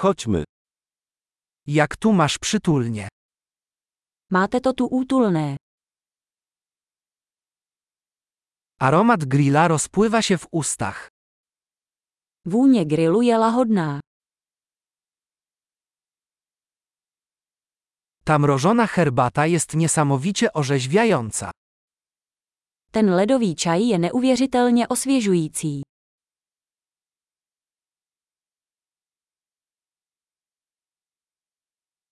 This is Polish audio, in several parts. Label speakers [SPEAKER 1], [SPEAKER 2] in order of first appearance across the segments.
[SPEAKER 1] Chodźmy. Jak tu masz przytulnie.
[SPEAKER 2] Máte to tu útulné.
[SPEAKER 1] Aromat grilla rozpływa się w ustach.
[SPEAKER 2] Vůně grilu je lahodná.
[SPEAKER 1] Ta mrożona herbata jest niesamowicie orzeźwiająca.
[SPEAKER 2] Ten ledový čaj je neuvěřitelně osvěžující.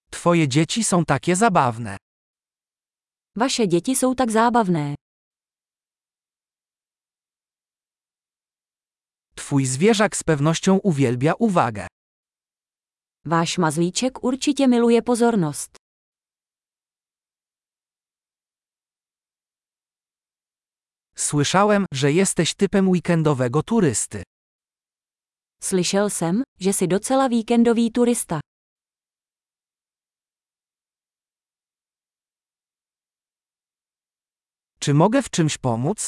[SPEAKER 1] Twoje dzieci są takie zabawne.
[SPEAKER 2] Vaše děti jsou tak zábavné.
[SPEAKER 1] Twój zwierzak z pewnością uwielbia uwagę.
[SPEAKER 2] Váš mazlíček určitě miluje pozornost.
[SPEAKER 1] Słyszałem, że jesteś typem weekendowego turysty.
[SPEAKER 2] Slyšel jsem, že jsi docela víkendový turista.
[SPEAKER 1] Czy mogę w czymś pomóc?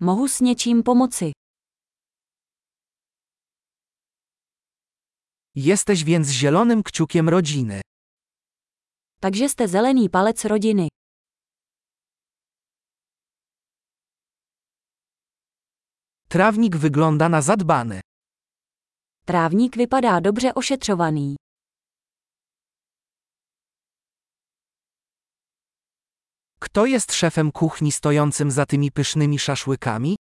[SPEAKER 2] Mohu s něčím pomoci.
[SPEAKER 1] Jesteś więc zielonym kciukiem rodziny.
[SPEAKER 2] Takže jste zelený palec rodiny.
[SPEAKER 1] Trawnik wygląda na zadbany.
[SPEAKER 2] Trávník vypadá dobře ošetřovaný.
[SPEAKER 1] Kto jest szefem kuchni stojącym za tymi pysznymi szaszłykami?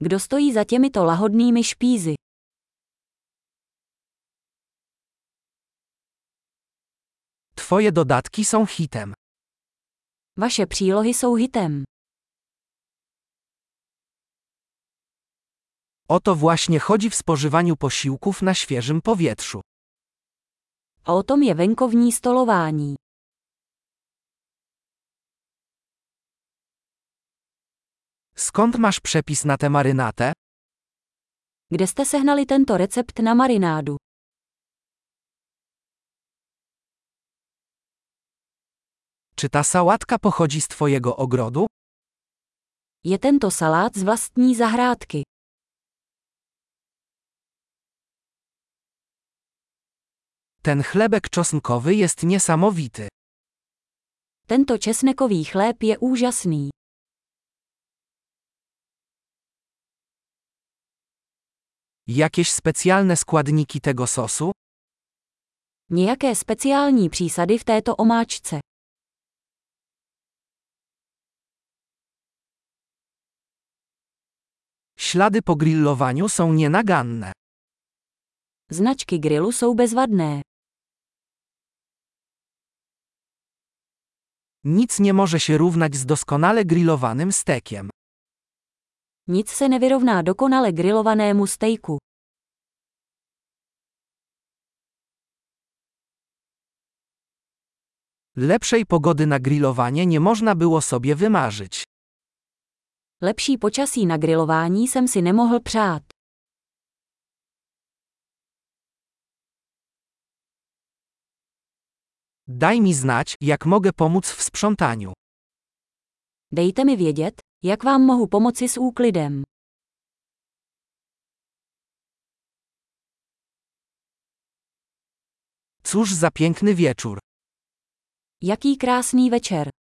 [SPEAKER 2] Kdo stojí za těmito lahodnými špízy?
[SPEAKER 1] Twoje dodatki są hitem.
[SPEAKER 2] Vaše přílohy jsou hitem.
[SPEAKER 1] O to właśnie chodzi w spożywaniu posiłków na świeżym powietrzu.
[SPEAKER 2] A o tom je venkovní stolování.
[SPEAKER 1] Skąd masz przepis na tę marynatę?
[SPEAKER 2] Kde jste sehnali tento recept na marinádu?
[SPEAKER 1] Czy ta sałatka pochodzi z twojego ogrodu?
[SPEAKER 2] Je tento salát z vlastní zahrádky.
[SPEAKER 1] Ten chlebek czosnkowy jest niesamowity.
[SPEAKER 2] Tento česnekový chléb je úžasný.
[SPEAKER 1] Jakieś specjalne składniki tego sosu?
[SPEAKER 2] Nějaké speciální přísady v této omáčce.
[SPEAKER 1] Ślady po grillowaniu są nienaganne.
[SPEAKER 2] Značky grilu jsou bezvadné.
[SPEAKER 1] Nic nie może się równać z doskonale grillowanym stekiem.
[SPEAKER 2] Nic se nevyrovná dokonale grilovanému stejku.
[SPEAKER 1] Lepszej pogody na grillowanie nie można było sobie wymarzyć.
[SPEAKER 2] Lepší počasí na grilování jsem si nemohl přát.
[SPEAKER 1] Daj mi znać, jak mogę pomóc w sprzątaniu.
[SPEAKER 2] Dejte mi vědět, jak vám mohu pomoci s úklidem.
[SPEAKER 1] Cóż za piękny wieczór.
[SPEAKER 2] Jaký krásný večer.